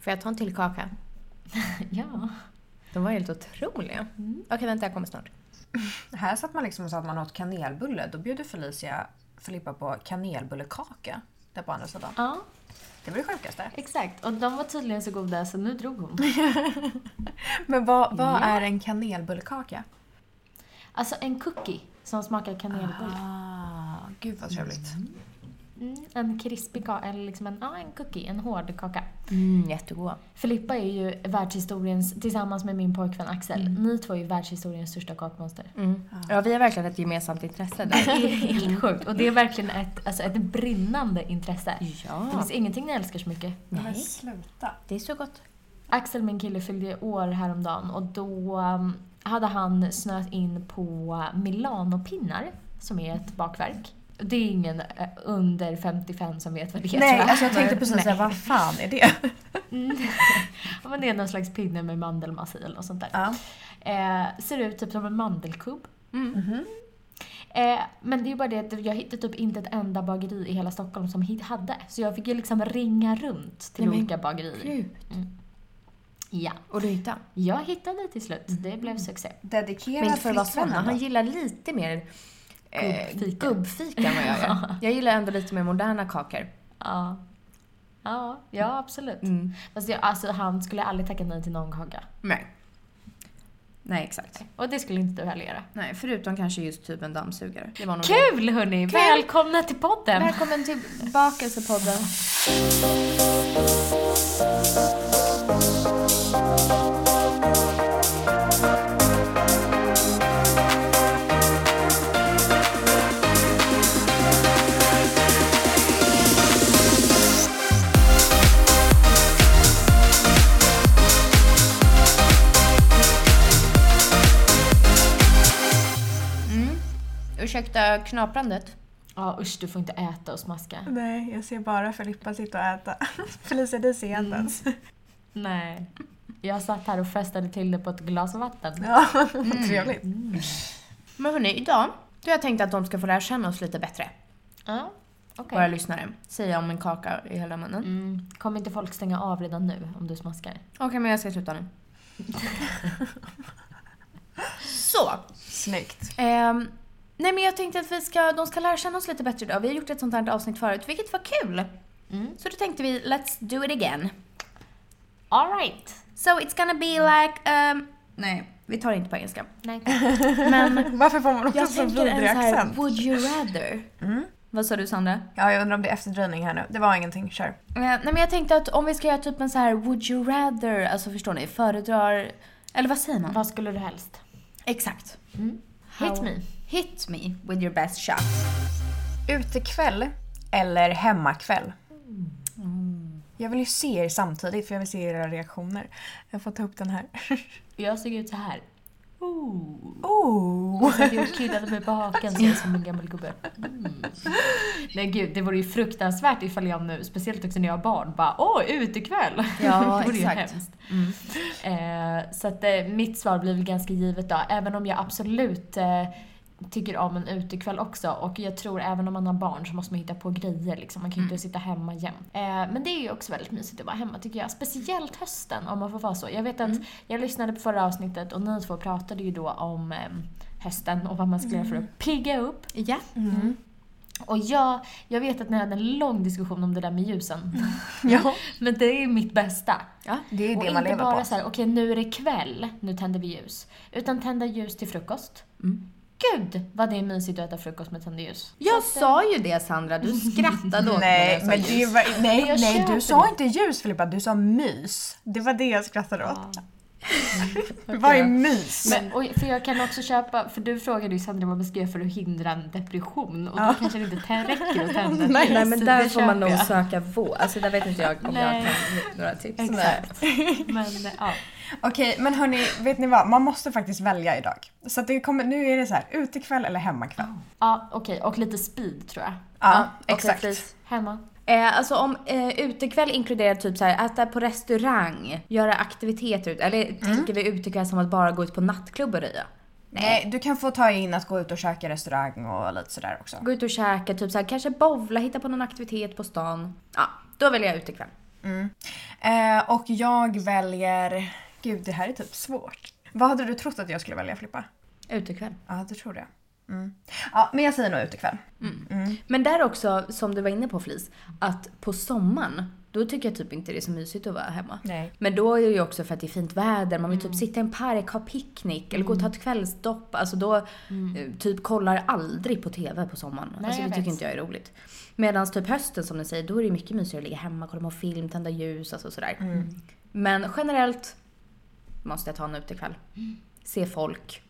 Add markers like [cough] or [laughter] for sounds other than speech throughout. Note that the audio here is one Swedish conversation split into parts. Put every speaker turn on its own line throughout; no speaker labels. Får jag ta en till kaka?
Ja.
De var helt otroliga. Mm. Okej, vänta, jag kommer snart.
Här satt man liksom och sa att man åt kanelbulle. Då bjöd ju Felicia Filippa på kanelbullekaka. Där på andra sidan.
Ja,
Det var det sjukaste.
exakt. Och de var tydligen så goda så nu drog hon.
Men vad, vad är en kanelbullekaka?
Alltså en cookie som smakar kanelbulle.
Ah, gud vad trevligt.
Mm, en krispig kaka, eller liksom en, ja, en cookie, en hård kaka.
Mm, jättegoda.
Filippa är ju världshistoriens, tillsammans med min pojkvän Axel, ni två är ju världshistoriens största kakmonster.
Mm. Ja, vi har verkligen ett gemensamt intresse där. [laughs]
Det [laughs] är helt sjukt. Och det är verkligen ett, alltså ett brinnande intresse. Det
Ja,
finns ingenting ni älskar så mycket.
Men
nej,
sluta.
det är så gott.
Axel, min kille, fyllde år häromdagen och då um, hade han snöat in på Milano-pinnar, som är ett bakverk. Det är ingen eh, under 55 som vet vad det är
Nej,
tror jag.
alltså jag tänkte precis säga, vad fan är det?
Ja, [laughs] Men det är någon slags pinne med mandelmassa i eller något sånt där.
Ja.
Eh, ser ut typ som en mandelkubb.
Mhm.
Eh, men det är ju bara det att jag hittade typ inte ett enda bageri i hela Stockholm som hit- hade. Så jag fick ju liksom ringa runt till
Nej, men
olika bagerier.
Gud.
Ja,
Och du hittade?
jag hittade till slut. Det blev succé.
Men
Dedikerad
inte för att vara Svenna,
flickvän
han
ändå.
gillar lite mer eh,
Gubbfika.
gubbfika än vad jag [laughs] gör. Jag gillar ändå lite mer moderna kakor.
Ja. Ja, ja absolut.
Mm.
Fast jag, alltså, han skulle aldrig tacka nej till någon kaka.
Nej. Nej, exakt.
Och det skulle inte du heller göra.
Nej, förutom kanske just typ en dammsugare. Det var nog det.
Kul hörni! Välkomna till podden!
Välkommen till Bakelsepodden. Mm. Ursäkta knaprandet.
Ja usch, du får inte äta och smaska.
Nej, jag ser bara Filippa sitta och äta. [laughs] Felicia, du ser inte ens.
Nej. Jag satt här och festade till det på ett glas vatten. Mm.
Ja, trevligt.
Men hörni, idag då har jag tänkt att de ska få lära känna oss lite bättre,
Ja, okej.
våra lyssnare. Säger jag om en kaka i hela munnen.
Mm. Kommer inte folk stänga av redan nu om du smaskar?
Okej, men jag ska sluta nu. Så.
Snyggt.
ehm, nej, men jag tänkte att vi ska, de ska lära känna oss lite bättre idag. Vi har gjort ett sånt här avsnitt förut, vilket var kul.
Mm.
Så då tänkte vi, let's do it again.
Alright!
So it's gonna be like... ehm, nej, vi tar det inte på engelska.
Nej.
Men
[laughs] Varför får man också
jag
så
tänker
vidrig
en så här,
accent? Mm.
would you rather? Vad sa du Sandra?
Ja, jag undrar om det är efterdröjning här nu. Det var ingenting, kör.
Eh, Nej men jag tänkte att om vi ska göra typ en så här would you rather, alltså förstår ni, föredrar, eller vad säger man?
Vad skulle du helst? Mm.
Exakt.
Hit me.
Hit me with your best shot.
Utekväll eller hemmakväll? Jag vill ju se er samtidigt för jag vill se era reaktioner. Jag får ta upp den här.
Jag såg ut så här. Ooh.
Oh!
Så att jag kliade mig på haken så jag är som en gammal gubbe. Mm. Nej gud, det vore ju fruktansvärt ifall jag nu, speciellt också när jag har barn, bara åh, utekväll!
[laughs] Ja,
det vore ju
exakt.
hemskt. Mm. Eh, så att eh, mitt svar blir väl ganska givet då, även om jag absolut eh, tycker om en utekväll också. Och jag tror även om man har barn så måste man hitta på grejer liksom. Man kan
Mm.
ju inte sitta hemma jämt. Eh, men det är ju också väldigt mysigt att vara hemma tycker jag. Speciellt hösten om man får vara så. Jag vet att
Mm.
jag lyssnade på förra avsnittet och ni två pratade ju då om ehm, hösten och vad man skulle göra för
Mm.
att pigga upp.
Ja.
Och jag, jag vet att ni hade en lång diskussion om det där med ljusen.
[laughs]
Mm.
Ja,
Men det är mitt bästa.
det är ju
Och
det man
inte
lever
bara
på.
så här, okej nu är det kväll, nu tänder vi ljus. Utan tända ljus till frukost. Gud vad det är mysigt att äta frukost med tända ljus.
Jag sa ju det Sandra, du skrattade [laughs] åt mig när jag
Nej,
sa
men det
ljus.
[laughs]
var, nej,
Men jag
nej,
köper
du sa inte ljus Filippa, du sa mys. Det var det jag skrattade [laughs] åt. Vad är mys?
Mm, Men, och, för jag kan också köpa, för du frågade ju Sandra vad man ska göra för att hindra en depression och då kanske det inte tä- räcker att tända ett
Nej,
ljus.
Nej men där
Det
får man
köper
nog
jag.
söka vår, alltså där vet inte jag om jag
Nej.
kan ge några tips.
Exakt. [laughs] Men, ja.
Okej, men hörni, vet ni vad? Man måste faktiskt välja idag. Så att det kommer, nu är det så här, utekväll eller hemmakväll.
Oh. Ja, okej. Och lite speed tror jag.
Ja,
okej,
exakt.
please.
Hemma.
Eh, alltså om eh, utekväll inkluderar typ så här, äta på restaurang, göra aktiviteter ut, eller tänker vi utekväll som att bara gå ut på nattklubb och röja?
Nej, du kan få ta in att gå ut och käka restaurang och lite sådär också.
Gå ut och käka, typ så här, kanske bowla, hitta på någon aktivitet på stan. Ja, då väljer jag utekväll.
Mm. Eh, och jag väljer... Gud, det här är typ svårt. Vad hade du trott att jag skulle välja Filippa?
Utekväll.
Ja, det tror jag. Mm. Ja, men jag säger nog utekväll. Mm.
Men där också, som du var inne på Flis, att på sommaren, då tycker jag typ inte det är så mysigt att vara hemma.
Nej.
Men då är det ju också för att det är fint väder, man vill
Mm.
typ sitta i en park, ha picknick eller gå och ta ett kvällsdopp. Alltså då eh, typ kollar aldrig på TV på sommaren.
Mm. Nej,
alltså det
jag
tycker
vet.
inte jag är roligt. Medan typ hösten som ni säger, då är det mycket mysigare att ligga hemma, kolla på film, tända ljus, alltså sådär.
Mm.
Men generellt måste jag ta en utekväll.
Mm.
Se folk,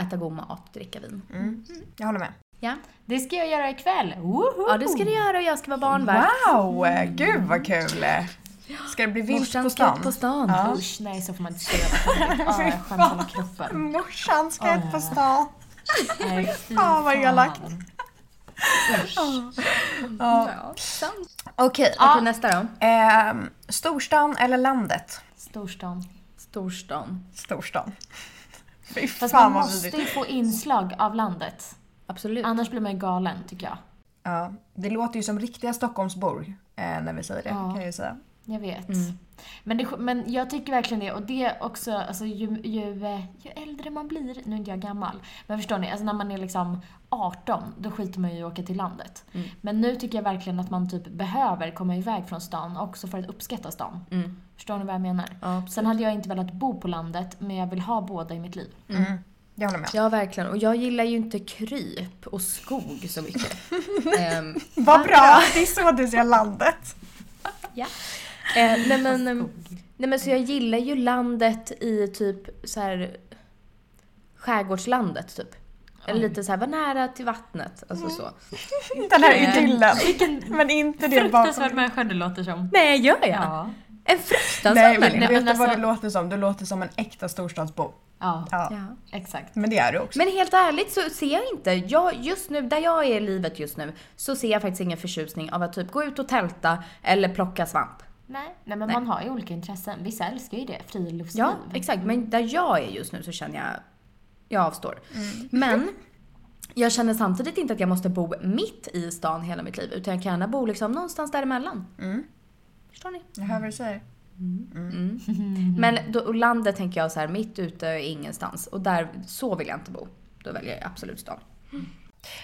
äta god mat, dricka vin.
Mm. Jag håller med.
Ja.
Det ska jag göra ikväll! Woho!
ja, det ska du göra och jag ska vara barnvakt.
Wow! Gud vad kul! Ska det bli vilt
Morsan
på
ska
stan?
ut på stan.
Ja.
Usch, nej så får man inte säga. Ah, jag skäms hela kroppen.
Morsan ska ut på stan.
Nej, fy
Fan, vad elakt.
fan.
Ja.
Ja, sant.
Okej.
Okej, nästa då.
Ehm, storstan eller landet?
Storstan.
Storstan.
Storstan. [laughs] Fy
Fast
fan
man
vad
måste
vidrigt.
ju få inslag av landet.
Absolut.
Annars blir man ju galen tycker jag.
Ja, det låter ju som riktiga Stockholmsbor eh, när vi säger det,
Ja.
kan jag ju säga.
Jag vet. Men, det, men jag tycker verkligen det. Och det också, alltså, ju, ju, eh, ju äldre man blir, nu är inte jag gammal, men förstår ni, alltså, när man är liksom 18, då skiter man ju i att åka till landet. Men nu tycker jag verkligen att man typ behöver komma iväg från stan också för att uppskatta stan.
Mm.
Förstår ni vad jag menar?
Ja,
Sen hade jag inte velat bo på landet, men jag vill ha båda i mitt liv.
Mm. Jag håller med.
Ja, verkligen. Och jag gillar ju inte kryp och skog så mycket.
[laughs]
Ehm,
Vad bra! [laughs] Det är så du ser landet.
ja. Eh, nej, men, ehm, nej men så jag gillar ju landet i typ så här skärgårdslandet typ. Eller lite så här, vara nära till vattnet. Alltså så.
Den här
Vilken-
idyllen.
[laughs] Vilken
Men inte det
fruktansvärd
bakom.
människa du låter som.
Nej, gör jag?
Ja.
En fruktansvärd
Nej,
människa.
men
Nej,
vet
men
du vad
alltså-
du låter som? Du låter som en äkta storstadsbo.
Ja,
Ja.
Ja.
exakt.
Men det är du också.
Men helt ärligt så ser jag inte, jag, just nu, där jag är i livet just nu, så ser jag faktiskt ingen förtjusning av att typ gå ut och tälta eller plocka svamp.
Nej, nej men
Nej.
man har ju olika intressen. Vissa älskar ju det, friluftsliv.
Ja, exakt. Men där jag är just nu så känner jag, jag avstår. Men jag känner samtidigt inte att jag måste bo mitt i stan hela mitt liv, utan jag kan gärna bo liksom någonstans däremellan.
Mm.
Förstår ni?
Jag hör vad du säger.
Mm. Men då, och landet tänker jag så här, mitt ute är ingenstans. Och där, så vill jag inte bo. Då väljer jag absolut stan.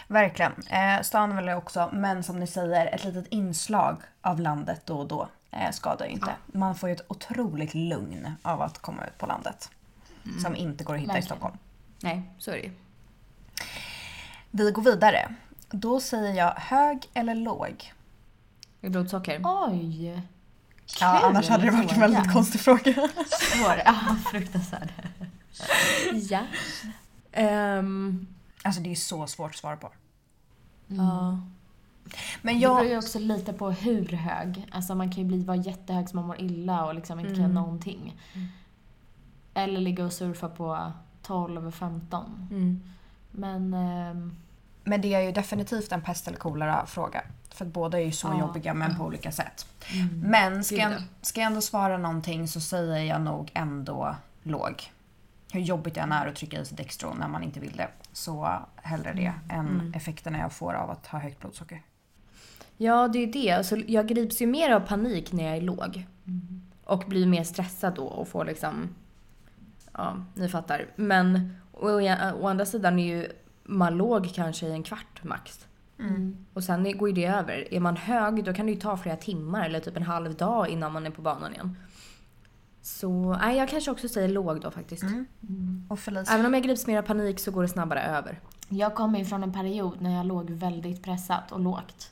Verkligen. Eh, stan vill jag också, men som ni säger, ett litet inslag av landet då och då eh, skadar ju inte. Man får ju ett otroligt lugn av att komma ut på landet. Som inte går att hitta i
Verkligen.
Stockholm.
Nej, så är det ju.
Vi går vidare. Då säger jag hög eller låg.
Det är Blodsocker.
Oj!
Ja,
Kul
annars hade det varit en
fråga.
väldigt konstig fråga.
[laughs] Svår. Ja, fruktansvärd.
Ja. Ehm,
Alltså det är så svårt att svara på.
ja.
Mm. Men
Det beror
jag...
ju också lite på hur hög. Alltså man kan ju bli, vara jättehög så man mår illa och liksom inte kan
Mm.
göra någonting. Eller ligga och surfa på 12-15.
Mm.
Men... ehm,
Men det är ju definitivt en pest eller kolera fråga. För att båda är ju så
Ja.
jobbiga men på olika sätt.
Mm.
Men ska
Gud,
jag,
ja.
ska jag ändå svara någonting så säger jag nog ändå låg. Hur jobbigt det än är att trycka i sig Dextro när man inte vill det. Så hellre det
Mm.
än effekterna jag får av att ha högt blodsocker.
ja, det är ju det. Alltså, jag grips ju mer av panik när jag är låg. Och blir mer stressad då och får liksom... Ja, ni fattar. Men å, å- å andra sidan är ju man låg kanske i en kvart max.
Mm.
Och sen är- går ju det över. Är man hög då kan det ju ta flera timmar eller typ en halv dag innan man är på banan igen. Så nej, jag kanske också säger låg då faktiskt.
Mm.
mm.
Och Felicia?
Även om jag grips mer av panik så går det snabbare över.
Jag kommer ju från en period när jag låg väldigt pressat och lågt.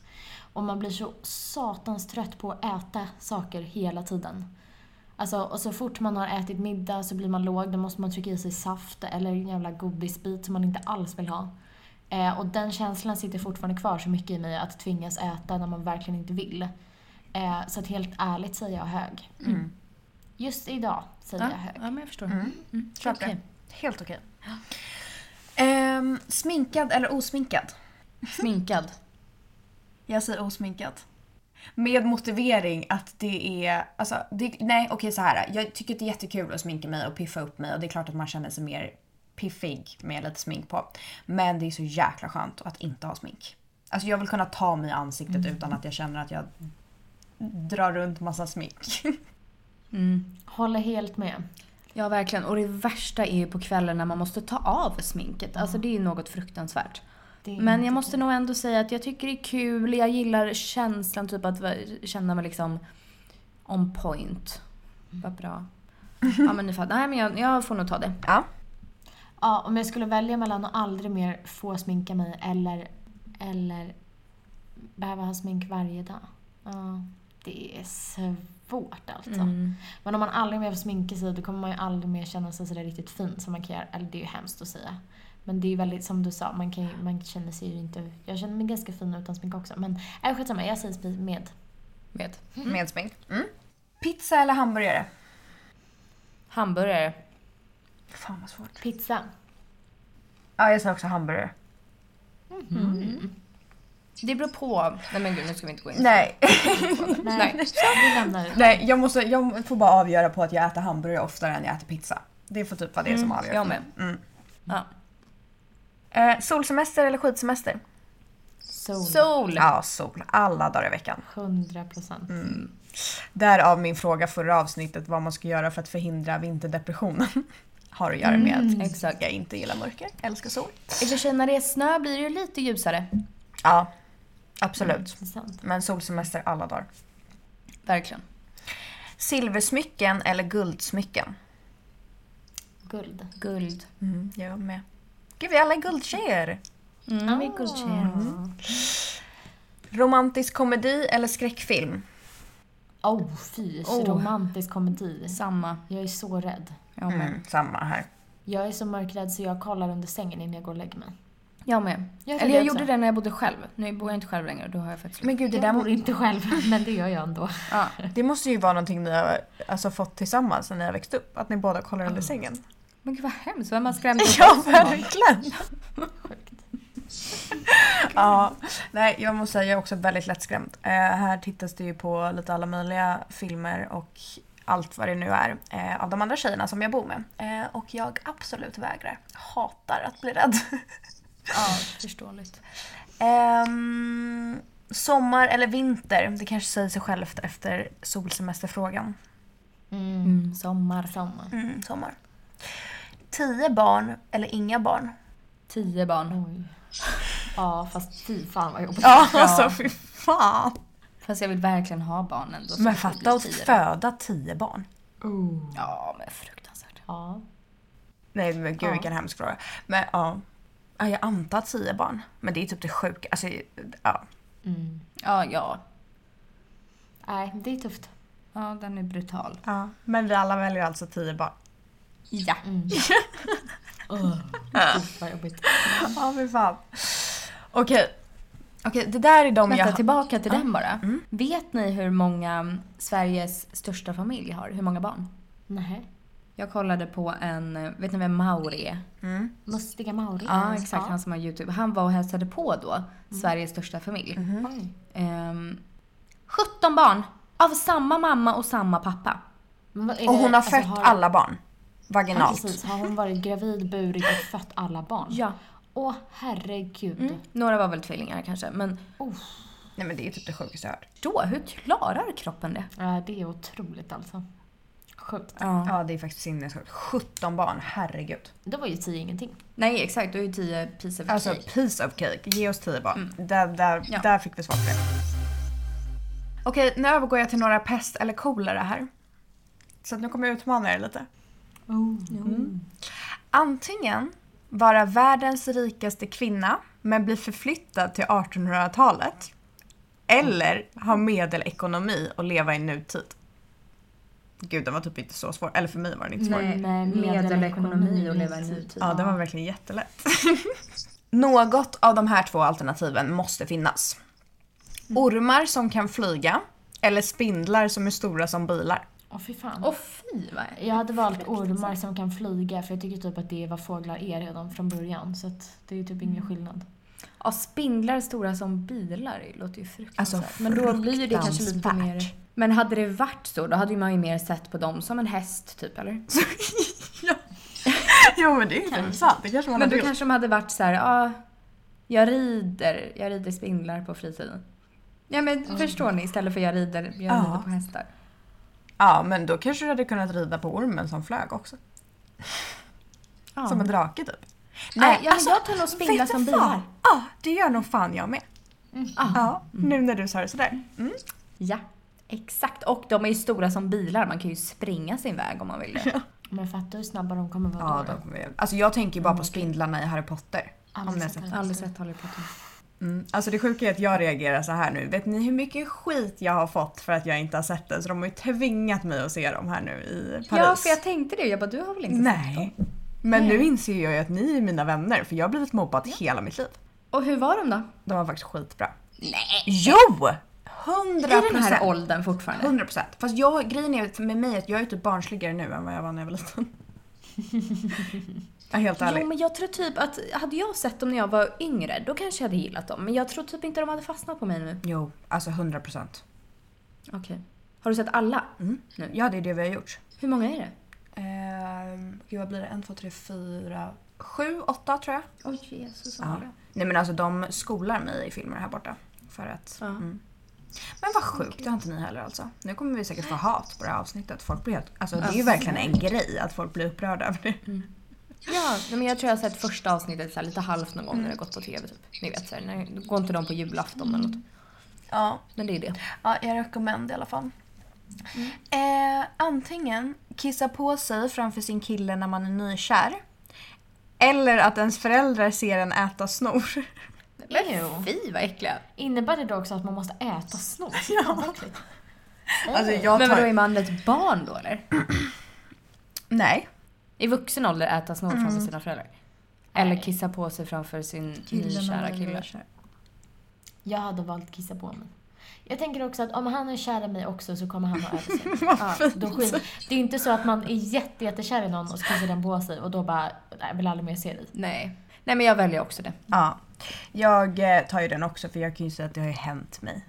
Och man blir så satans trött på att äta saker hela tiden. Alltså, och så fort man har ätit middag så blir man låg, då måste man trycka i sig saft eller en jävla godisbit som man inte alls vill ha. Eh, och den känslan sitter fortfarande kvar så mycket i mig, att tvingas äta när man verkligen inte vill. Eh, så att helt ärligt säger jag hög. Just idag säger jag hög.
Mm. ja men jag förstår.
Klart det.
okej.
Helt okej. Ehm, sminkad eller osminkad?
Sminkad.
Jag säger osminkad. Med motivering att det är... Alltså, det, nej, okej så här. Jag tycker att det är jättekul att sminka mig och piffa upp mig och det är klart att man känner sig mer piffig med lite smink på. Men det är så jäkla Mm. skönt att inte ha smink. Alltså jag vill kunna ta mig i ansiktet utan att jag känner att jag dra runt massa smink. [laughs]
Mm.
Håller helt med.
Ja, verkligen. Och det värsta är ju på kvällen när man måste ta av sminket. Alltså det är ju något fruktansvärt.
Det är
Men
inte
jag måste nog ändå säga att jag tycker det är kul. Jag gillar känslan typ att va- känna mig liksom on point. Vad bra. Ja men ni fattar. Nej men jag, jag får nog ta det.
Ja.
Ja, om jag skulle välja mellan att aldrig mer få sminka mig eller, eller behöva ha smink varje dag. Ja, det är svårt alltså.
Mm.
Men om man aldrig mer får sminka sig då kommer man ju aldrig mer känna sig sådär riktigt fin som man kan göra. Eller det är ju hemskt att säga. Men det är ju väldigt, som du sa, man, kan, ju- man känner sig ju inte... Jag känner mig ganska fin utan smink också. Men äh, skitsamma, jag säger smi- med.
Med.
Med smink. Mm. Pizza eller hamburgare?
Hamburgare.
Fan vad svårt.
Pizza.
Ja, jag sa också hamburgare.
Det beror på. Nej men gud nu ska vi inte gå in. [laughs]
Nej,
[laughs] Nej.
Vi lämnar det.
[laughs] Nej jag, måste, jag får bara avgöra på att jag äter hamburgare oftare än jag äter pizza. Det får typ vara det som avgör.
Jag med.
Mm.
Ja.
Eh, solsemester eller skidsemester?
Sol.
Sol.
Ja, sol. Alla dagar i veckan.
100 procent.
Mm,
Därav min fråga förra avsnittet vad man ska göra för att förhindra vinterdepressionen. [laughs] Har att göra med att
Exakt.
jag inte gillar mörker, älskar sol.
I och för sig när det är snö blir det ju lite ljusare.
Ja, absolut.
Intressant.
Men solsemester alla dagar.
Verkligen.
Silversmycken eller guldsmycken?
Guld.
Guld.
Mm, jag med. Gud, vi alla är guldtjejer!
Mm, vi är guldtjejer.
Ah.
Romantisk komedi eller skräckfilm?
Oh, fy.
Oh.
Romantisk komedi.
Samma.
Jag är så rädd.
Jag med.
Mm, samma här.
Jag är så mörkrädd så jag kollar under sängen innan jag går och lägger mig.
Jag med.
Jag
Eller jag
också.
gjorde det när jag bodde själv. Nu bor jag inte själv längre. Då har jag faktiskt...
Men gud, det,
Jag
där,
bor inte själv, men det gör jag ändå.
Ja.
det måste ju vara någonting ni har alltså, fått tillsammans när ni har växt upp. Att ni båda kollar under sängen.
Men gud vad hemskt. Vem har [laughs] skrämt upp
Ja,
oss?
verkligen! [laughs] ja, nej, jag måste säga jag är också väldigt lättskrämd. Eh, här tittas det ju på lite alla möjliga filmer och allt vad det nu är eh, av de andra tjejerna som jag bor med. Eh, och jag absolut vägrar. Hatar att bli rädd.
Ja, förståeligt.
Ehm, sommar eller vinter? Det kanske säger sig självt efter solsemesterfrågan.
Mm.
Mm, sommar.
Samma.
Mm, sommar. Tio barn eller inga barn?
Tio barn.
Oj. Ja, fast fy fan vad jobbigt.
Ja, alltså fy fan.
Fast jag vill verkligen ha barn ändå. så
Men
det
fatta
blir
att
tio.
föda tio barn.
Oh.
Ja, men fruktansvärt.
Ja.
Nej men gud
Ja.
vilken hemsk fråga. Men ja. Ja, jag antar att tio barn. Men det är typ det sjuka. Alltså, ja.
Mm.
Ja, ja.
Nej, det är tufft.
Ja, den är brutal.
ja. Men vi alla väljer alltså tio barn.
Ja. [laughs]
Mm. Ugh, Usch, vad jobbigt.
[laughs] Ja fy fan. Okej. Okej det där är de
Vänta,
jag...
tillbaka till den bara.
Mm.
Vet ni hur många mm, Sveriges största familj har? Hur många barn?
Nej.
Jag kollade på en, vet ni vem Mauri är? Eh,
Mm.
Mustiga Mauri.
Ja, exakt. Han som har YouTube. Han var och hälsade på då,
Mm.
Sveriges största familj.
Oj.
Ehm, 17 barn! Av samma mamma och samma pappa.
Men vad är
Och
det-
hon har
alltså,
fött alla barn.
Ja,
Vaginalt.
precis. Har hon varit gravid, burit och fött alla barn?
Ja.
Åh, herregud.
Mm. Några var väl tvillingar kanske, men
Oh.
Nej men det är typ det sjukaste jag hört.
då, hur klarar kroppen det?
Ja, det är otroligt alltså. Sjukt.
Ja det är faktiskt sinnessjukt. 17 barn, herregud.
Det var ju tio ingenting.
Nej, exakt. Då är ju 10 piece of
Alltså
cake.
piece of cake. Ge oss tio barn. Där, där,
Ja.
där fick vi svar på det. Okej, nu övergår jag till några pest eller kolera här. Så att nu kommer jag utmana er lite. Oh. Mm. Antingen vara världens rikaste kvinna men bli förflyttad till 1800-talet. Eller ha medelekonomi och leva i nutid. Gud, den var typ inte så svår. Eller för mig var den inte svår.
Nej,
Nej,
medelekonomi typ.
medelekonomi
och leva i
nutid.
nutid.
Ja, den var verkligen jättelätt. [laughs] Något av de här två alternativen måste finnas. Mm. Ormar som kan flyga eller spindlar som är stora som bilar.
Åh, fy fan.
Åh fy vad är
Jag hade valt ormar som kan flyga för jag tycker typ att det är vad fåglar är redan från början. Så att det är ju typ
Mm.
ingen skillnad.
Ja, spindlar stora som bilar det låter ju fruktansvärt.
Alltså,
men då blir ju det kanske lite mer...
fruktansvärt.
Men hade det varit så, då hade ju man ju mer sett på dem som en häst typ, eller?
[laughs] Jo men det är inte sant, det kanske man
Men då kanske de hade varit så här, ja, jag rider, jag rider spindlar på fritiden. Ja men förstår ni? Istället för jag rider, jag
Ja.
rider på hästar.
Ja, men då kanske du hade kunnat rida på ormen som flög också.
Ja.
Som en drake typ.
Nej, ja, men jag tar nog spindlar
vet du
som
fan?
bilar.
Ja, det gör nog fan jag med.
Ah.
Ja, nu när du sa det sådär. Mm.
Ja, exakt. Och de är ju stora som bilar, man kan ju springa sin väg om man [laughs] vill.
Men fattar hur snabba de kommer vara
Ja,
då.
de kommer ju- Alltså jag tänker ju bara på spindlarna i Harry Potter.
Aldrig
Om ni har
sett
sett-
Harry
Aldrig sett Harry Potter.
Mm. Alltså det sjuka är att jag reagerar så här nu. Vet ni hur mycket skit jag har fått för att jag inte har sett det? Så de har ju tvingat mig att se dem här nu i Paris.
Ja, för jag tänkte det. Jag bara, du har väl inte sett
Nej. Men
Nej.
nu inser jag ju att ni är mina vänner för jag har blivit mobbad hela mitt liv.
Och hur var de då?
De var faktiskt skitbra. Nej! Jo! 100
I den här åldern fortfarande?
100 procent. Fast jag, grejen är för med mig att jag är typ barnsligare nu än vad jag var när jag var [laughs] liten. Ja, Helt
Jo,
ärligt.
men jag tror typ att hade jag sett dem när jag var yngre, då kanske jag hade gillat dem. Men jag tror typ inte de hade fastnat på mig nu.
Jo, alltså 100 procent. Mm.
Okej. Har du sett alla?
Ja, det är det vi har gjort.
Hur många är det?
Ehm, gud, vad blir det? En, två, tre, fyra, sju, åtta tror jag.
Oj, Jesus.
Ja. Nej men alltså de skolar mig i filmer här borta. För att...
Ja.
Mm. Men vad sjukt, det har inte ni heller alltså. Nu kommer vi säkert få hat på det här avsnittet. Folk blir helt... Alltså det är ju
Alltså.
verkligen en grej att folk blir upprörda över det.
Ja, nej, men jag tror jag har sett första avsnittet så här, lite halvt någon gång när det har gått på tv. Typ. Ni vet, så här, när, då går inte de på julafton eller något.
Ja,
Men det är det.
ja jag rekommenderar i alla fall.
Mm.
Eh, antingen kissa på sig framför sin kille när man är nykär. Eller att ens föräldrar ser en äta snor.
Ew.
Men fy vad äckliga.
Innebär det då också att man måste äta snor?
[laughs] Ja. Alltså jag
Men vadå, är
tar...
man ett barn då eller?
Nej.
I vuxen ålder äta snor framför sina föräldrar? Eller kissa på sig framför sin nykära [laughs] kille?
Jag hade valt kissa på mig. Jag tänker också att om han är kär i mig också så kommer han ha överseende. ja, då skit. Det är inte så att man är jätte, jättekär i någon och så kissar den på sig och då bara, nej, jag vill aldrig mer se dig.
Nej. Nej men jag väljer också det.
Ja. Jag eh, tar ju den också för jag kan ju säga att det har ju hänt mig.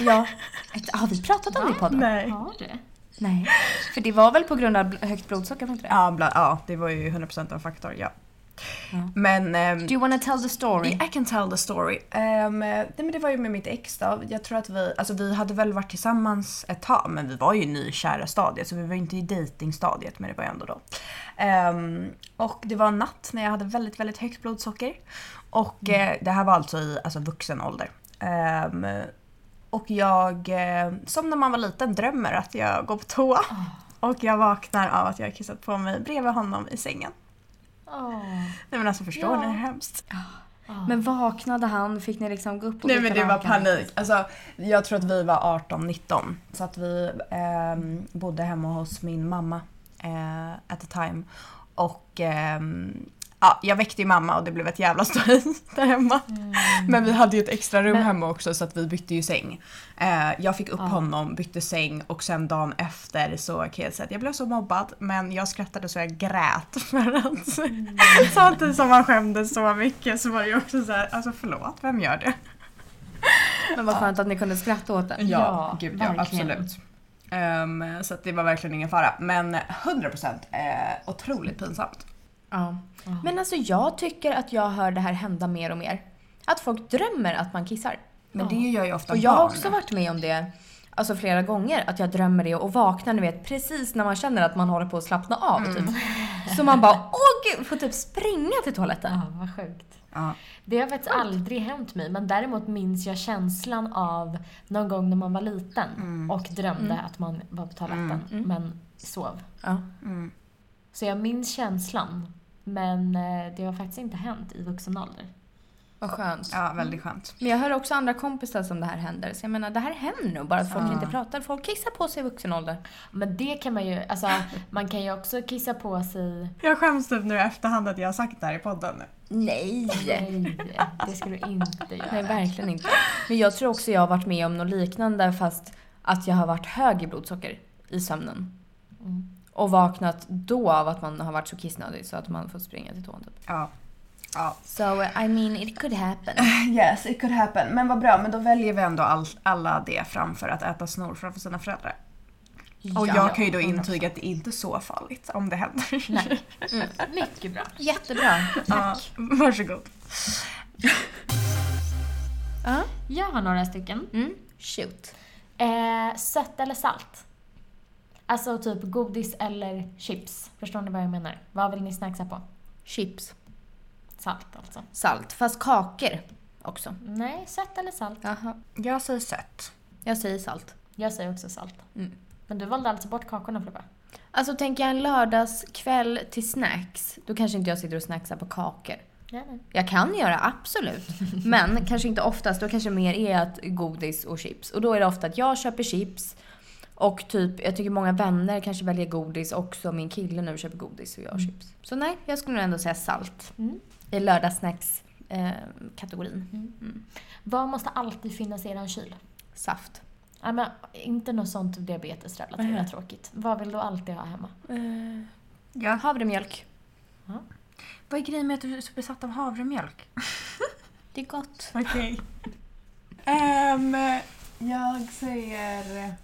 Ja. Ett, har vi pratat om det i podden?
Nej.
Har du?
Nej. För det var väl på grund av bl- högt blodsocker, var inte det?
Ja, bland, ja, det var ju 100% en faktor. Ja.
Ja.
Men... ehm,
Do you wanna tell the story?
I can tell the story. Ehm, nej, men det var ju med mitt ex då. Jag tror att vi, alltså vi hade väl varit tillsammans ett tag men vi var ju i nykära stadiet så vi var ju inte i dejtingstadiet men det var ju ändå då. Ehm, och det var en natt när jag hade väldigt, väldigt högt blodsocker. Och eh, det här var alltså i alltså, vuxen ålder. Ehm, och jag, eh, som när man var liten, drömmer att jag går på toa.
Ah.
Och jag vaknar av att jag har kissat på mig bredvid honom i sängen.
Åh.
Nej men alltså förstår
Ja.
ni hur hemskt?
Ja.
Men vaknade han? Fick ni liksom gå upp och
Nej
byta
men det var
lakan?
panik. Alltså, jag tror att vi var 18-19. Så att vi ehm, bodde hemma hos min mamma eh, at the time. Och ehm, ja, jag väckte ju mamma och det blev ett jävla ståhej [laughs] där hemma.
Mm.
Men vi hade ju ett extra rum
Men-
hemma också så att vi bytte ju säng. Eh, jag fick upp
Ja.
honom, bytte säng och sen dagen efter så kan jag säga att jag blev så mobbad men jag skrattade så jag grät [laughs] för att
Mm.
[laughs] samtidigt som man skämdes så mycket så var det ju också så här, alltså förlåt, vem gör det?
Men vad skönt att ni kunde skratta åt det.
Ja,
Ja,
gud ja,
verkligen.
absolut. Ehm, så att det var verkligen ingen fara. Men 100% eh, otroligt pinsamt.
Ja.
Ah.
Men alltså jag tycker att jag hör det här hända mer och mer. Att folk drömmer att man kissar.
Men det gör ju ofta
Och jag har
barn.
också varit med om det alltså flera gånger. Att jag drömmer det och vaknar ni vet precis när man känner att man håller på att slappna av.
Mm. [laughs]
Typ. Så man bara åh gud, får typ springa till toaletten.
Ja, Ah, vad sjukt.
Ja.
Det har faktiskt aldrig hänt mig, men däremot minns jag känslan av någon gång när man var liten och drömde att man var på toaletten, men sov.
Ja.
Mm.
Så jag minns känslan, men eh, det har faktiskt inte hänt i vuxen ålder.
Vad skönt.
ja, väldigt skönt.
Men jag hör också andra kompisar som det här händer. Så jag menar det här händer nog bara att folk
Ja.
inte pratar. Folk kissar på sig i vuxen ålder.
Men det kan man ju, alltså man kan ju också kissa på sig.
Jag skäms typ nu i efterhand att jag har sagt det här i podden. nu.
Nej!
Nej, det ska du inte göra.
Nej, verkligen inte. Men jag tror också jag har varit med om något liknande fast att jag har varit hög i blodsocker i sömnen.
Mm.
Och vaknat då av att man har varit så kissnödig så att man får springa till toan typ.
Ja. ja.
So I mean it could happen.
Yes, it could happen. Men vad bra, men då väljer vi ändå all, alla det framför att äta snor framför sina föräldrar. [laughs] Och jag kan ju då intyga att det är inte är så farligt om det händer.
Nej. Mycket bra.
[laughs]
Jättebra.
Ja, varsågod.
Ja.
Jag har några stycken.
Mm. Shoot.
Eh, sött eller salt? Alltså typ godis eller chips. Förstår ni vad jag menar? Vad vill ni snacksa på?
Chips.
Salt alltså.
Salt. Fast kakor också.
Nej, sött eller salt?
Jaha.
Jag säger sött.
Jag säger salt.
Jag säger också salt.
Mm.
Men du valde alltså bort kakorna Flubbe?
Alltså tänker jag en lördagskväll till snacks, då kanske inte jag sitter och snacksar på kakor.
Ja, nej.
Jag kan göra, absolut. Men kanske inte oftast. Då kanske mer är att godis och chips. Och då är det ofta att jag köper chips och typ, jag tycker många vänner kanske väljer godis också. Min kille nu köper godis och jag chips. Så nej, jag skulle nog ändå säga salt
Mm.
i eh, lördagssnacks-kategorin.
Vad måste alltid finnas i eran kyl?
Saft.
Ja, men inte något sånt diabetesrelaterat
Mhm.
tråkigt. Vad vill du alltid ha hemma?
Eh.
Ja.
Havremjölk.
Vad är grejen med att du är så besatt av havremjölk?
Det är gott.
[laughs] Okej. Ehm, jag säger...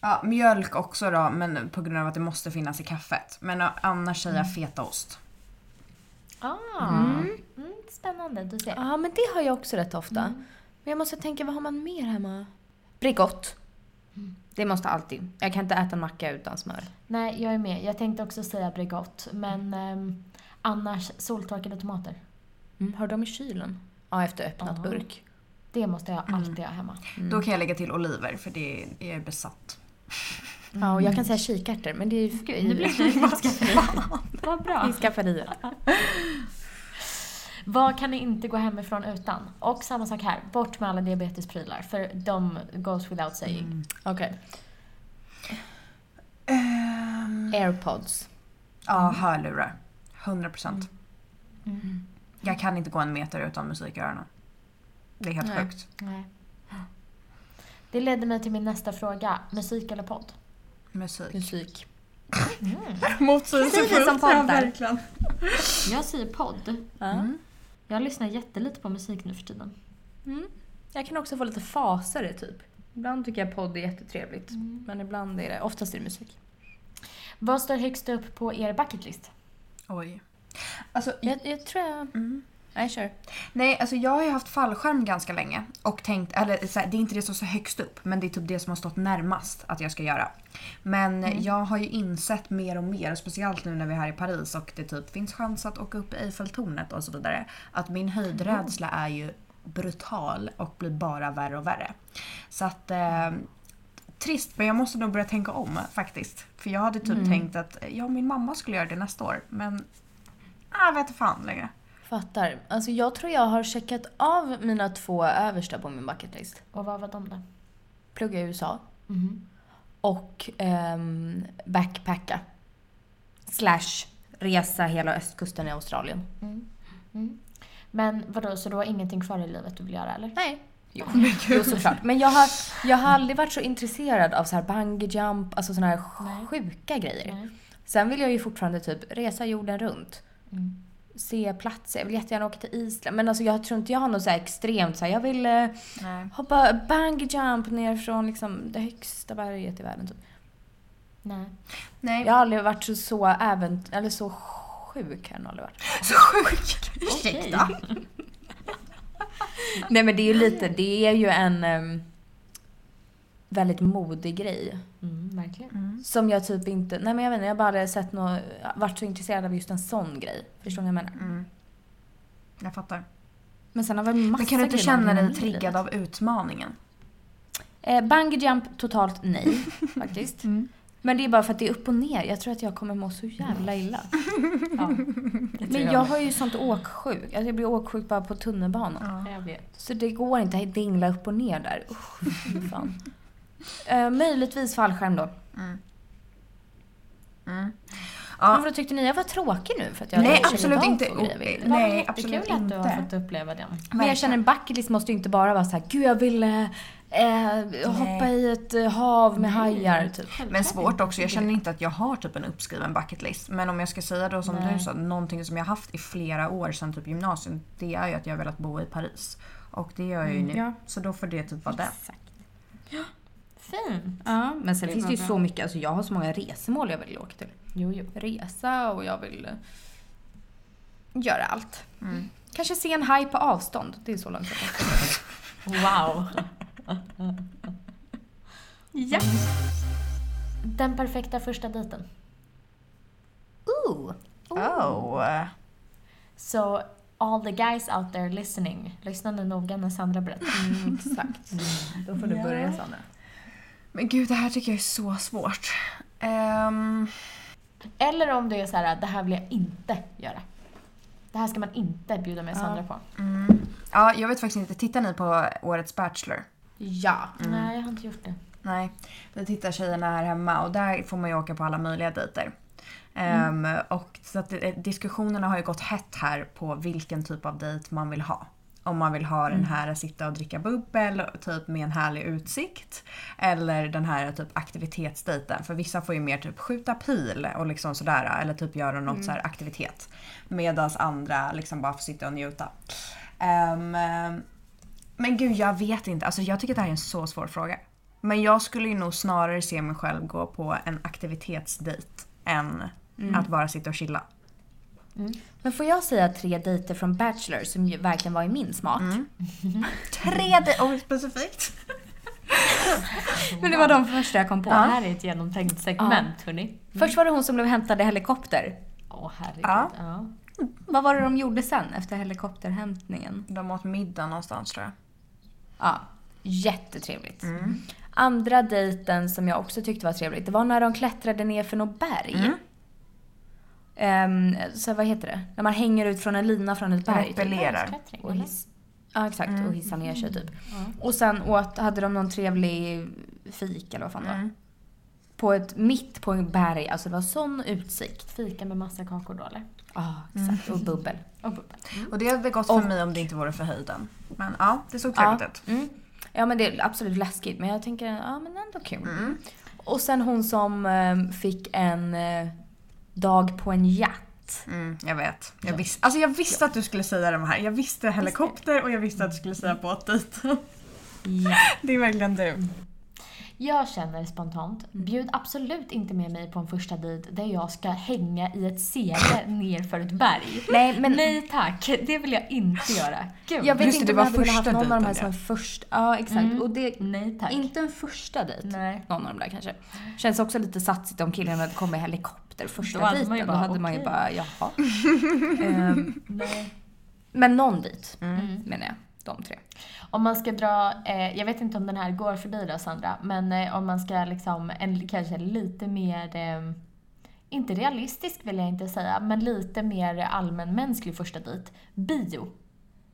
Ja, mjölk också då, men på grund av att det måste finnas i kaffet. Men ja, annars säger jag fetaost.
Ah,
Mm.
mm. spännande, du ser.
Ja, men det har jag också rätt ofta.
Mm.
Men jag måste tänka, vad har man mer hemma? Mm. Brigott. Det måste alltid. Jag kan inte äta macka utan smör.
Nej, jag är med. Jag tänkte också säga Bregott, men ehm, annars soltorkade tomater.
Mm. Har de i kylen? Ja, efter öppnat
Ja.
burk. Mm.
Det måste jag alltid ha hemma.
Då kan jag lägga till oliver för det är jag är besatt.
Ja, och jag kan säga kikärtor, men Mm. det är ju
Gud, nu blir det
Vad
[laughs]
Vad
i
bra.
skafferiet.
Vad kan ni inte gå hemifrån utan? Och samma sak här, bort med alla diabetesprylar, för de goes without saying.
Okej.
Ehm,
Mm. Airpods.
Ja, hörlurar. 100 procent.
Mm.
Jag kan inte gå en meter utan musik i öronen. Det är helt
Nej.
sjukt.
Nej. Det ledde mig till min nästa fråga, musik eller podd?
Musik. [laughs]
Musik.
Mm.
Motsägelsefullt.
Precis som poddar.
verkligen.
Jag säger podd.
Mm.
Jag lyssnar jättelite på musik nu för tiden.
Mm. Jag kan också få lite fasare, typ. Ibland tycker jag podd är jättetrevligt, men ibland är det... Oftast är det musik.
Mm. Vad står högst upp på er bucketlist?
Oj. Alltså,
Jag, jag tror jag...
mm.
Nej, kör.
Nej, alltså jag har ju haft fallskärm ganska länge och tänkt, eller så här, det är inte det som står högst upp men det är typ det som har stått närmast att jag ska göra. Men
Mm.
jag har ju insett mer och mer, och speciellt nu när vi är här i Paris och det typ finns chans att åka upp i Eiffeltornet och så vidare, att min höjdrädsla
Mm.
är ju brutal och blir bara värre och värre. Så att eh, Trist, men jag måste nog börja tänka om faktiskt. För jag hade typ
Mm.
tänkt att jag och min mamma skulle göra det nästa år, men äh, jag vet inte fan längre.
Fattar. Alltså, jag tror jag har checkat av mina två översta på min bucketlist.
Och vad var de då?
Plugga i USA
Mhm.
och ehm, backpacka. Slash resa hela östkusten i Australien.
Mm. Men vadå, så du har ingenting kvar i livet du vill göra eller?
Nej.
[laughs]
Jo, jo såklart. Men jag har, jag har aldrig varit så intresserad av så här bungee jump, alltså såna här
Nej.
sjuka grejer.
Nej.
Sen vill jag ju fortfarande typ resa jorden runt.
Mm.
Se platser. Jag vill jättegärna åka till Island. Men alltså jag tror inte jag har något så här extremt så här, jag vill eh,
Nej.
hoppa bungee jump ner från liksom det högsta berget i världen. Typ.
Nej.
Nej.
Jag har aldrig varit så, så ävent eller så sjuk har jag nog aldrig varit.
Så sjuk! Ursäkta.
Nej men det är ju lite, det är ju en ehm, väldigt modig grej.
Mm, [laughs] verkligen.
Som jag typ inte, nej men jag vet inte, jag bara hade sett något, varit så intresserad av just en sån grej. Förstår ni vad jag menar?
Mm. Jag fattar.
Men sen har väl massa
Men kan du inte
grejer man
känna
hinner
dig
med i livet.
triggad av utmaningen?
Eh, bungee jump totalt
[laughs]
nej, faktiskt.
Mm.
Men det är bara för att det är upp och ner. Jag tror att jag kommer må så jävla illa.
Ja,
Men jag har ju sånt åksjuk. Alltså jag blir åksjuk bara på tunnelbanan.
jag vet.
Så det går inte att dingla upp och ner där. Usch, fy
[laughs]
fan. Eh, möjligtvis fallskärm då.
Mm. Mm.
Men
Ja.
Vad tyckte ni? Jag var tråkig nu för att jag
Nej,
känner
absolut
av
inte.
två grejer vi
Det
vill.
var
Nej,
jättekul
absolut
att du har
inte.
fått uppleva den.
Men jag känner en bucketlist måste ju inte bara vara så här, gud jag vill eh, eh, hoppa i ett eh, hav med hajar typ.
Men svårt också. Jag känner inte att jag har typ en uppskriven bucket list. Men om jag ska säga då som
Nej.
du sa, någonting som jag haft i flera år sedan typ gymnasiet. Det är ju att jag har velat bo i Paris. Och det gör jag ju nu.
ja.
Så då får det typ vara det.
Fin!
Ja, men sen
Det
finns
var
det ju
bra.
så mycket, alltså jag har så många resmål jag vill åka till.
Jo, jo.
Resa och jag vill eh,
Mm.
göra allt. Kanske se en haj på avstånd, det är så långt jag
Wow. ja. Den perfekta första dejten. Ooh.
Oh.
So all the guys out there listening, lyssna nu noga när Sandra berättar.
Mm, [laughs] exakt. Då får du börja Sandra.
Men gud, det här tycker jag är så svårt. Ehm,
Eller om det är så här, det här vill jag inte göra. Det här ska man inte bjuda med Sandra på.
mm. Ja, jag vet faktiskt inte. Tittar ni på årets Bachelor?
Ja.
Nej, jag har inte gjort det.
Nej, då tittar tjejerna här hemma och där får man ju åka på alla möjliga dejter. Ehm, och så att det, diskussionerna har ju gått hett här på vilken typ av dejt man vill ha. Om man vill ha den här att sitta och dricka bubbel typ med en härlig utsikt. Eller den här typ aktivitetsdejten. För vissa får ju mer typ skjuta pil och liksom sådär. Eller typ göra något så här aktivitet. Medan andra liksom bara får sitta och njuta. Ehm, men gud, jag vet inte. Alltså, jag tycker att det här är en så svår fråga. Men jag skulle ju nog snarare se mig själv gå på en aktivitetsdejt än
Mm.
att bara sitta och chilla.
Men får jag säga tre dejter från Bachelor som ju verkligen var i min smak?
Tre dejter! Oh, specifikt.
Men det var de första jag kom på.
Det här är ett genomtänkt segment, hörni.
Först var det hon som blev hämtad i helikopter.
Åh, herregud.
Ja.
Ja.
Vad var det de gjorde sen efter helikopterhämtningen?
De åt middag någonstans tror jag.
Ja, jättetrevligt.
Mm.
Andra dejten som jag också tyckte var trevligt, det var när de klättrade ner för något berg. Ehm, så vad heter det? När man hänger ut från en lina från ett berg. typ.
Repellerar.
Bergsklättring,
Och
eller?
hiss, ja, exakt. Och hissa ner sig typ. Och sen åt, hade de någon trevlig fik eller vad fan det var.
Mm.
På ett, mitt på en berg, alltså det var sån utsikt.
Fika med massa kakor då, eller?
Ja, exakt. Och bubbel.
Och bubbel.
Och det hade gått för mig om det inte vore för höjden. Men ja, det såg trevligt ut.
Mm. Ja men det är absolut läskigt men jag tänker, ja men ändå kul. Och sen hon som eh, fick en eh, dag på en
[laughs]
yacht.
Mm, jag vet. Jag, visste, alltså jag visste att du skulle säga de här. Jag visste helikopter och jag visste att du skulle säga båtdejten. [laughs] Det är verkligen du.
Jag känner spontant,
Mm.
bjud absolut inte med mig på en första dejt där jag ska hänga i
[laughs]
ett sele nerför ett berg.
Nej men
Nej tack, det vill jag inte göra. Gud.
jag vet
Just det,
inte
det
om
var
jag hade velat
första
haft någon av de här
dejten,
som en första. Ja exakt. Och det,
Nej tack.
inte en första dejt.
Nej.
Någon av de där kanske. Känns också lite satsigt om killen hade kommit med helikopter första
Då hade man ju
dejten.
bara,
då hade man ju
okej.
bara, jaha. Ehm,
Nej.
men någon dit menar jag. De tre.
Om man ska dra, eh, jag vet inte om den här går för dig då Sandra, men eh, om man ska liksom en kanske lite mer, eh, inte realistisk vill jag inte säga, men lite mer allmänmänsklig första dejt. Bio.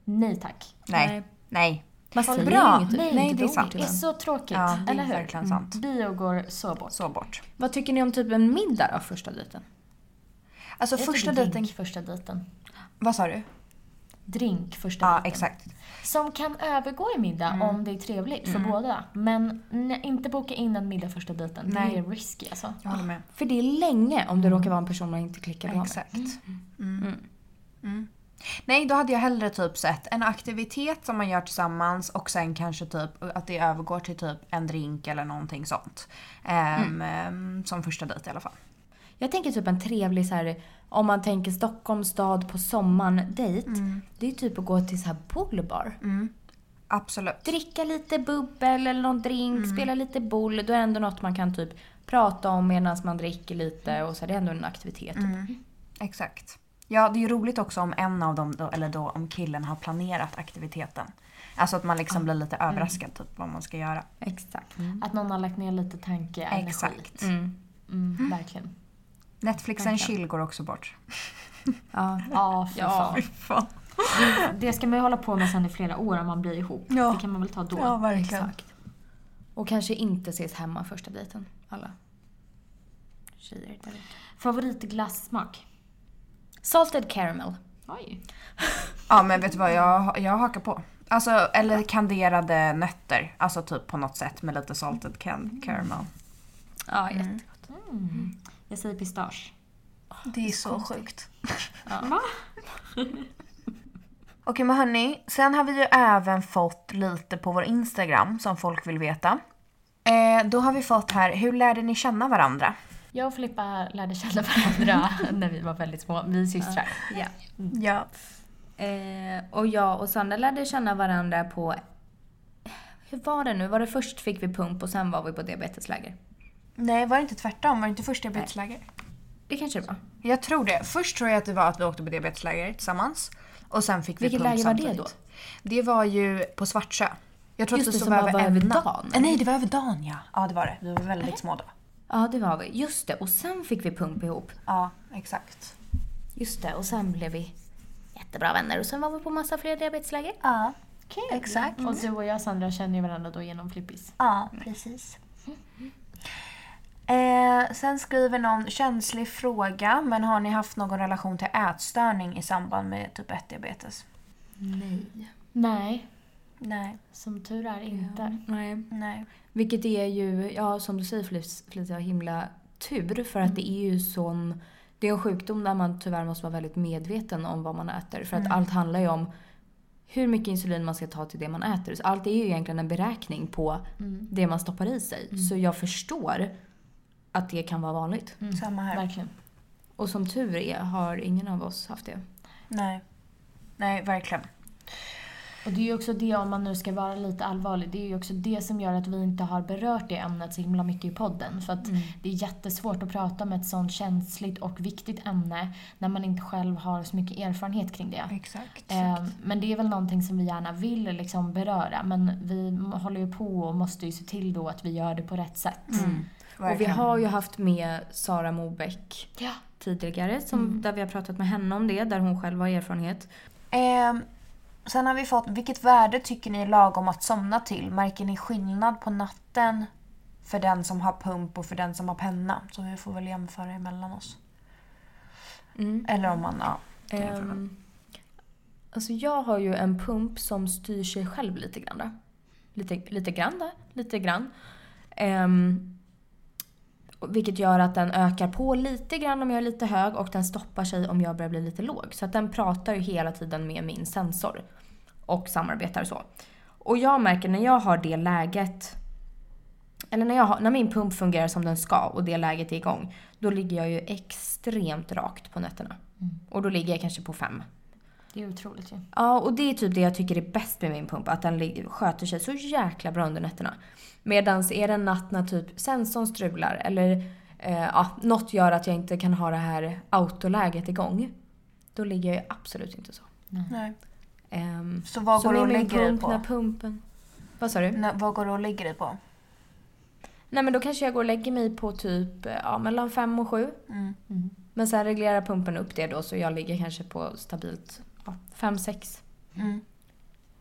Nej tack.
Nej.
Nej. Nej.
Man
Vad
säger
bra.
inget,
Nej,
inte
det är
ett ord
sant.
Det
till
är
den.
så tråkigt,
Ja, det är
eller hur? Mm.
verkligen sant.
Bio går så bort.
Så bort.
Vad tycker ni om typ en middag då, första dejten?
Alltså
Jag
första
tycker
dejten...
Drink första dejten.
Vad sa du?
Drink första
Ja,
dejten.
exakt. Mm.
Som kan övergå i middag om det är trevligt för båda. Men nej, inte boka in en middag första dejten. Det
Nej.
är risky alltså.
Jag håller med.
För det är länge om det råkar vara en person man inte klickar på. med.
Mm. Exakt. Mm. Mm. Nej, då hade jag hellre typ sett en aktivitet som man gör tillsammans och sen kanske typ att det övergår till typ en drink eller någonting sånt. Ehm, ehm, Som första dejt i alla fall.
Jag tänker typ en trevlig så här, om man tänker Stockholms stad på sommaren dejt.
Mm.
Det är typ att gå till så här bullbar.
Absolut.
Dricka lite bubbel eller någon drink,
Mm.
spela lite boll. Då är det ändå något man kan typ prata om medan man dricker lite
Mm.
och så här, det är ändå en aktivitet. Typ.
Exakt. Ja, det är ju roligt också om en av dem, då, eller då om killen har planerat aktiviteten. Alltså att man liksom blir lite överraskad typ vad man ska göra.
Exakt.
Mm.
Att någon har lagt ner lite tanke, energi.
Exakt.
Mm.
Mm, verkligen.
Netflix and chill går också bort.
Ja.
Ja, för
Ja.
fan.
Fan.
Det ska man ju hålla på med sen i flera år om man blir ihop.
Ja.
Det kan man väl ta då.
[laughs] Ja, verkligen.
Exakt. Och kanske inte ses hemma första dejten. Alla tjejer där ute.
Favoritglassmak?
Salted caramel.
Oj.
Ja men vet du vad, jag, jag hakar på. Alltså, eller kanderade nötter. Alltså typ på något sätt med lite salted can- caramel.
Ja, jättegott.
Mm.
Mm.
Jag säger pistage.
Det är så sjukt.
Va?
Okej men hörni, sen har vi ju även fått lite på vår Instagram som folk vill veta. Eh, då har vi fått här, hur lärde ni känna varandra?
Jag och Filippa lärde känna [laughs] varandra när vi var väldigt små. Vi är systrar.
Ja.
Ja.
Eh, och jag och Sandra lärde känna varandra på Hur var det nu? Var det först fick vi pump och sen var vi på diabetesläger?
Nej, var det inte tvärtom? Var det inte först diabetesläger?
Det kanske det var.
Jag tror det. Först tror jag att det var att vi åkte på diabetesläger tillsammans. Och sen fick vi
Vilket
pump
läger var det
samtidigt.
då?
Det var ju på Svartsjö. Jag tror
Just
att
det,
vi sov
som bara
över
var
en
över
natt.
dagen.
Eh, Nej, det var över dagen ja. Ja, det var det. Vi var väldigt små då.
Ja, det var vi. Just det, och sen fick vi pump ihop.
Ja, exakt.
Just det, och sen blev vi jättebra vänner och sen var vi på massa fler diabetesläger.
Ja,
Kul.
Exakt.
Och du och jag Sandra känner ju varandra då genom Flippis.
ja precis. Eh, sen skriver någon känslig fråga, men har ni haft någon relation till ätstörning i samband med typ 1-diabetes?
Nej.
Nej,
Nej,
som tur är inte.
Nej.
nej.
Vilket är ju, ja som du säger Felicia, Felicia, himla tur för att det är ju sån... Det är en sjukdom där man tyvärr måste vara väldigt medveten om vad man äter. För att allt handlar ju om hur mycket insulin man ska ta till det man äter. Så allt är ju egentligen en beräkning på
Mm.
det man stoppar i sig. Så jag förstår att det kan vara vanligt.
Samma här.
Mm. Verkligen.
Och som tur är har ingen av oss haft det.
Nej. Nej, verkligen.
Och det är ju också det, om man nu ska vara lite allvarlig, det är ju också det som gör att vi inte har berört det ämnet så himla mycket i podden. För att det är jättesvårt att prata om ett sånt känsligt och viktigt ämne när man inte själv har så mycket erfarenhet kring det.
Exakt.
Eh, Men det är väl någonting som vi gärna vill liksom beröra men vi m- håller ju på och måste ju se till då att vi gör det på rätt sätt.
Mm. Och vi har ju haft med Sara Mobeck
Ja.
tidigare som, där vi har pratat med henne om det, där hon själv har erfarenhet.
Ehm, sen har vi fått, vilket värde tycker ni är lagom att somna till? Märker ni skillnad på natten för den som har pump och för den som har penna? Så vi får väl jämföra emellan oss.
Mm.
Eller om man, ja. kan jämföra.
Ehm, alltså jag har ju en pump som styr sig själv lite grann. Då. Lite, lite grann där, lite grann. Ehm, och vilket gör att den ökar på lite grann om jag är lite hög och den stoppar sig om jag börjar bli lite låg. Så att den pratar ju hela tiden med min sensor och samarbetar så. Och jag märker när jag har det läget eller när, jag har, när min pump fungerar som den ska och det läget är igång, då ligger jag ju extremt rakt på nätterna. Och då ligger jag kanske på fem.
Det är otroligt ju.
Ja, och det är typ det jag tycker är bäst med min pump, att den lig- sköter sig så jäkla bra under nätterna. Medans är det en natt när typ sensorn strular eller eh, ja, något gör att jag inte kan ha det här autoläget igång, då ligger jag ju absolut inte så.
Nej.
Ehm,
Så vad går
med
du och
min
lägger dig
pump när
på?
pumpen... Vad sa du?
När, vad går du och lägger dig på?
Nej men då kanske jag går och lägger mig på typ ja, mellan fem och sju.
Mm.
Men sen reglerar pumpen upp det då så jag ligger kanske på stabilt ja, fem, sex.
Mm.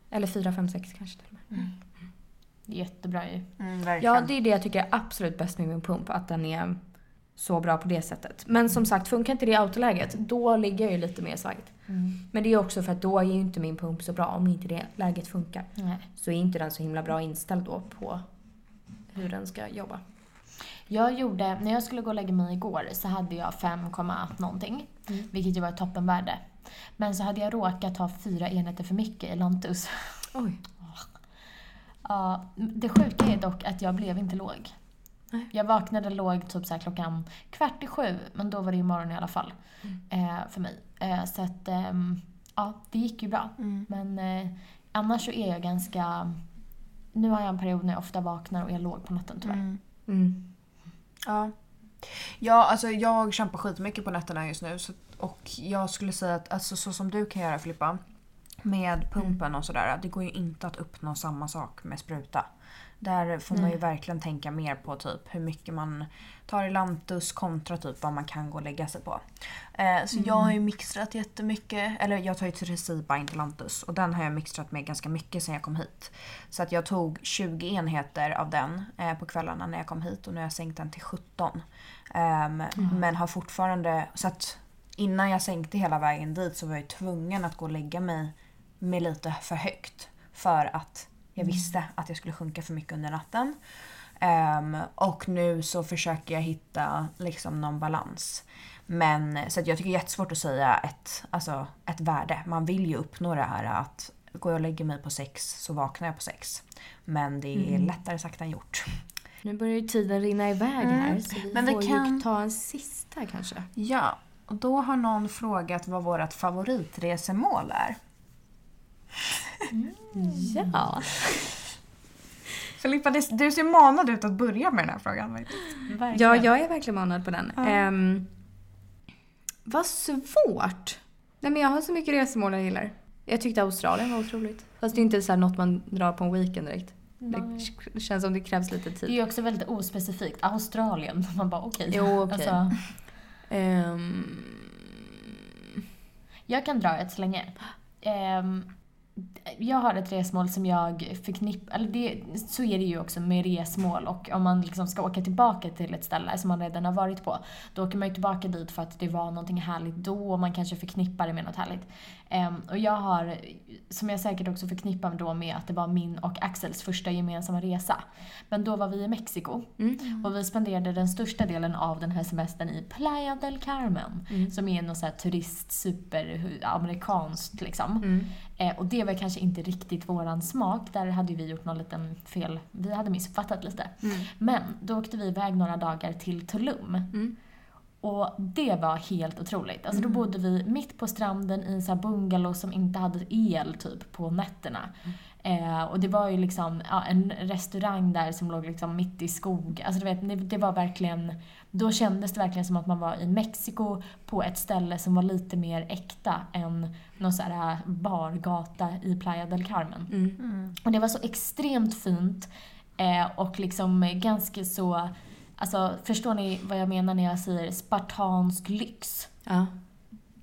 Eller fyra, fem, sex kanske till och med.
Det är jättebra ju.
Mm,
Ja,
verkligen.
det är det jag tycker är absolut bäst med min pump. Att den är så bra på det sättet. Men som sagt, funkar inte det i autoläget, då ligger jag ju lite mer svagt. Men det är också för att då är ju inte min pump så bra om inte det läget funkar.
Nej.
Så är inte den så himla bra inställd då på hur den ska jobba.
Jag gjorde, när jag skulle gå och lägga mig igår så hade jag 5, någonting. Vilket ju var ett toppenvärde. Men så hade jag råkat ha fyra enheter för mycket i Lantus.
Oj.
Ja, det sjuka är dock att jag blev inte låg.
Nej.
Jag vaknade låg typ så här klockan kvart i sju, men då var det ju morgon i alla fall.
Mm.
Eh, för mig. Eh, så att, ehm, ja, det gick ju bra.
Mm.
Men eh, annars så är jag ganska... Nu har jag en period när jag ofta vaknar och är låg på natten tyvärr.
Mm.
Mm.
Ja. Ja, alltså jag kämpar skitmycket på nätterna just nu. Så, och jag skulle säga att alltså, så som du kan göra Filippa, med pumpen och sådär, det går ju inte att uppnå samma sak med spruta. Där får man ju verkligen tänka mer på typ hur mycket man tar i lantus kontra typ vad man kan gå och lägga sig på. Eh, så jag har ju mixtrat jättemycket, eller jag tar ju Tresiba, inte lantus. Och den har jag mixtrat med ganska mycket sen jag kom hit. Så att jag tog 20 enheter av den eh, på kvällarna när jag kom hit och nu har jag sänkt den till 17. Ehm, Men har fortfarande, så att innan jag sänkte hela vägen dit så var jag tvungen att gå och lägga mig med lite för högt. För att jag visste att jag skulle sjunka för mycket under natten. Ehm, och nu så försöker jag hitta liksom någon balans. Men så att jag tycker det är jättesvårt att säga ett, alltså, ett värde. Man vill ju uppnå det här att går jag och lägger mig på sex så vaknar jag på sex. Men det är lättare sagt än gjort.
Nu börjar ju tiden rinna iväg
Mm.
här så vi
Men vi
får
kan-
ju ta en sista kanske.
Ja, och då har någon frågat vad vårt favoritresemål är.
Ja.
Filippa, det- du ser manad ut att börja med den här frågan. verkligen.
Mm. Ja,
Verkligen.
jag är verkligen manad på den. Ehm, vad svårt! Nej men jag har så mycket resmål jag gillar. Jag tyckte Australien var otroligt. Fast det är inte så här något man drar på en weekend direkt. Det
Nej.
k- känns som det krävs lite
Det
tid.
är ju också väldigt ospecifikt. Australien. [laughs] Man bara okej.
Jo, okej.
Alltså,
Ehm,
jag kan dra ett
[gasps]
så länge. Ehm, jag har ett resmål som jag förknippar, eller det, så är det ju också med resmål och om man liksom ska åka tillbaka till ett ställe som man redan har varit på, då åker man ju tillbaka dit för att det var någonting härligt då och man kanske förknippar det med något härligt. Ehm, och jag har, som jag säkert också förknippar då med att det var min och Axels första gemensamma resa. Men då var vi i Mexiko och vi spenderade den största delen av den här semestern i Playa del Carmen som är något så här turist, super, amerikanskt liksom.
mm.
Eh, och det var kanske inte riktigt våran smak. Där hade ju vi gjort någon liten fel. Vi hade missuppfattat lite.
Mm.
Men då åkte vi iväg några dagar till Tulum.
Mm.
Och det var helt otroligt. Alltså då bodde vi mitt på stranden i en så här bungalow som inte hade el typ på nätterna. Eh, och det var ju liksom ja, en restaurang där som låg liksom mitt i skog. Alltså du vet, det, det var verkligen... Då kändes det verkligen som att man var i Mexiko på ett ställe som var lite mer äkta än någon så här eh, bargata i Playa del Carmen.
Mm.
Och det var så extremt fint eh, och liksom ganska så, alltså förstår ni vad jag menar när jag säger spartansk lyx?
Ja.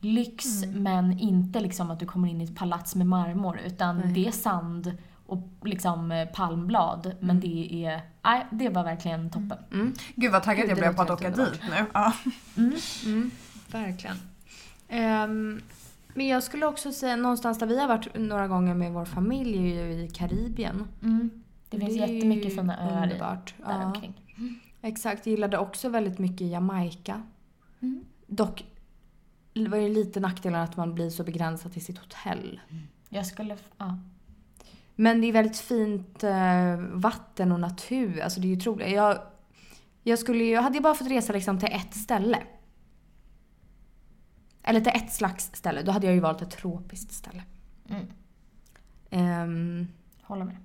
Lyx men inte liksom att du kommer in i ett palats med marmor utan
Nej.
det är sand och liksom eh, palmblad men det är, nej det var verkligen toppen.
Mm.
Gud vad taggad
Gud,
jag
det
blev på att
låter
åka
helt
dit nu. Ja.
Mm, verkligen. Ehm, men jag skulle också säga någonstans där vi har varit några gånger med vår familj är ju i Karibien.
Mm. Det finns
är ju
jättemycket fina öar i-
underbart.
där
Ja,
omkring.
exakt. Jag gillade också väldigt mycket Jamaica.
Mm.
Dock var det lite nackdelen att man blir så begränsad till sitt hotell.
Jag skulle, ja.
Men det är väldigt fint eh, vatten och natur. Alltså det är ju otroligt. Jag, jag skulle ju, hade jag bara fått resa liksom till ett ställe. Eller till ett slags ställe. Då hade jag ju valt ett tropiskt ställe.
Mm.
Ehm,
Håller med.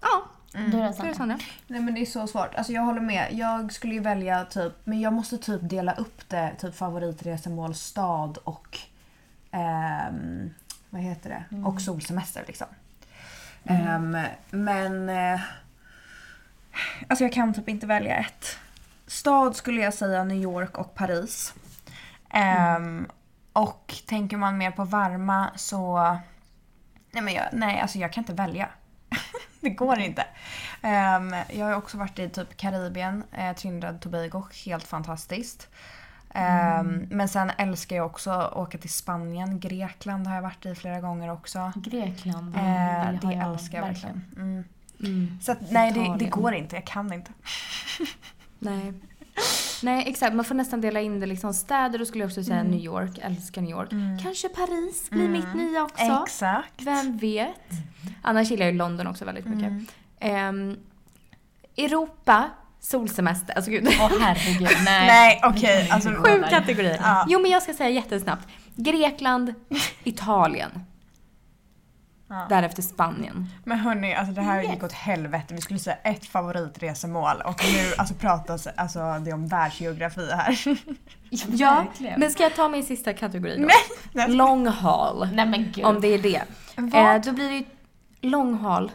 ja,
Mm.
Du är det
det är
Sanna.
Sanja.
Nej men det är så svårt. Alltså jag håller med. Jag skulle ju välja typ, men jag måste typ dela upp det. Typ favoritresemål, stad och ehm, vad heter det? Och solsemester liksom. Ehm, men eh, alltså jag kan typ inte välja ett. Stad skulle jag säga New York och Paris. Ehm, Och tänker man mer på varma så Nej, men jag, nej alltså jag kan inte välja. [laughs] det går inte. Ehm, jag har ju också varit i typ Karibien, eh, Trinidad och Tobago, helt fantastiskt. Ehm, Men sen älskar jag också att åka till Spanien. Grekland har jag varit i flera gånger också.
Grekland.
Eh,
har
det älskar jag verkligen. Mm.
Mm.
Så att, nej, det, det
Italien.
går inte. Jag kan [laughs] inte.
Nej. Nej, exakt. Man får nästan dela in det liksom städer. Då skulle jag också säga
Mm.
New York. Älskar New York.
Mm.
Kanske Paris blir
Mm.
mitt nya också.
Exakt.
Vem vet? Annars gillar jag ju London också väldigt mycket.
Mm.
Ehm, Europa, solsemester. Alltså gud. [laughs]
Åh herregud, nej.
Nej, okej, alltså,
Sju
Sju
katter.
kategorier.
Ja.
Jo men jag ska säga jättesnabbt. [laughs] Grekland, Italien.
Ja.
Därefter Spanien.
Men hörni, alltså det här
Yes.
gick åt helvete. Vi skulle säga ett favoritresemål och nu alltså, pratas alltså, det om världsgeografi här. [laughs]
Ja,
verkligen.
men ska jag ta min sista kategori då?
Nej.
Long haul.
Nej men gud.
Om det är det.
Vad?
Eh, då blir det ju long haul.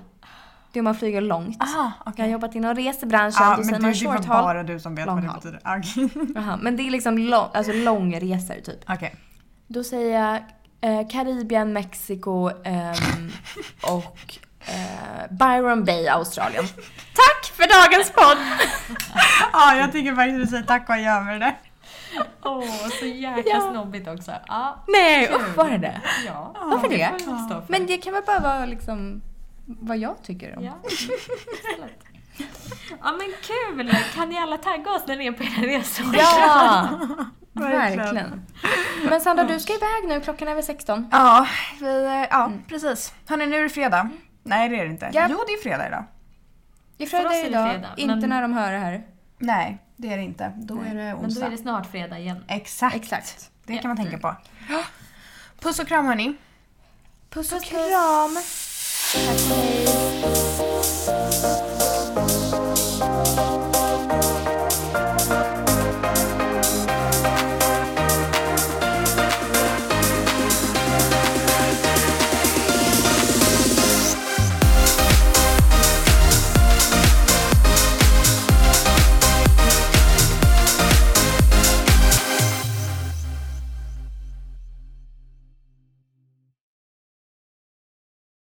Det är om man flyger långt.
Aha,
Jag har
Ah, okej.
jobbat inom resebranschen
Ja,
och
men
sen
du,
har
det var
short haul.
bara du som vet
Long
vad det
haul.
betyder. [laughs] Ah, Okej.
Jaha, Men det är liksom lång, alltså långresor typ.
[laughs] Okej.
Då säger jag eh, Karibien, Mexiko [laughs] ehm, och eh, Byron Bay, Australien. Tack för dagens podd!
Ja, jag tycker faktiskt du säger tack och gör med det där.
Åh, så jäkla
Ja.
snobbigt också. Ja,
Nej, usch var det det?
ja.
Varför det?
får jag stå för.
Men det kan väl bara vara liksom vad jag [laughs] tycker om.
Ja, istället. ja men kul! Kan ni alla tagga oss när ni är på era resor?
[laughs] Ja!
Verkligen.
Verkligen. Men Sandra, du ska iväg nu. Klockan är väl 16?
Ja, vi, eh, ja precis. Hörni, nu är det fredag. Nej, det är det inte.
Japp.
Jo, det är fredag idag.
I
För oss är
fredag
det
idag.
fredag,
inte
men-
när de hör det här.
Nej, det är det inte. Då är det
Men då
onsdag.
är det snart fredag igen.
Exakt.
Exakt.
Det kan man tänka på. Puss och kram hörni.
Puss och kram! Tack och hej!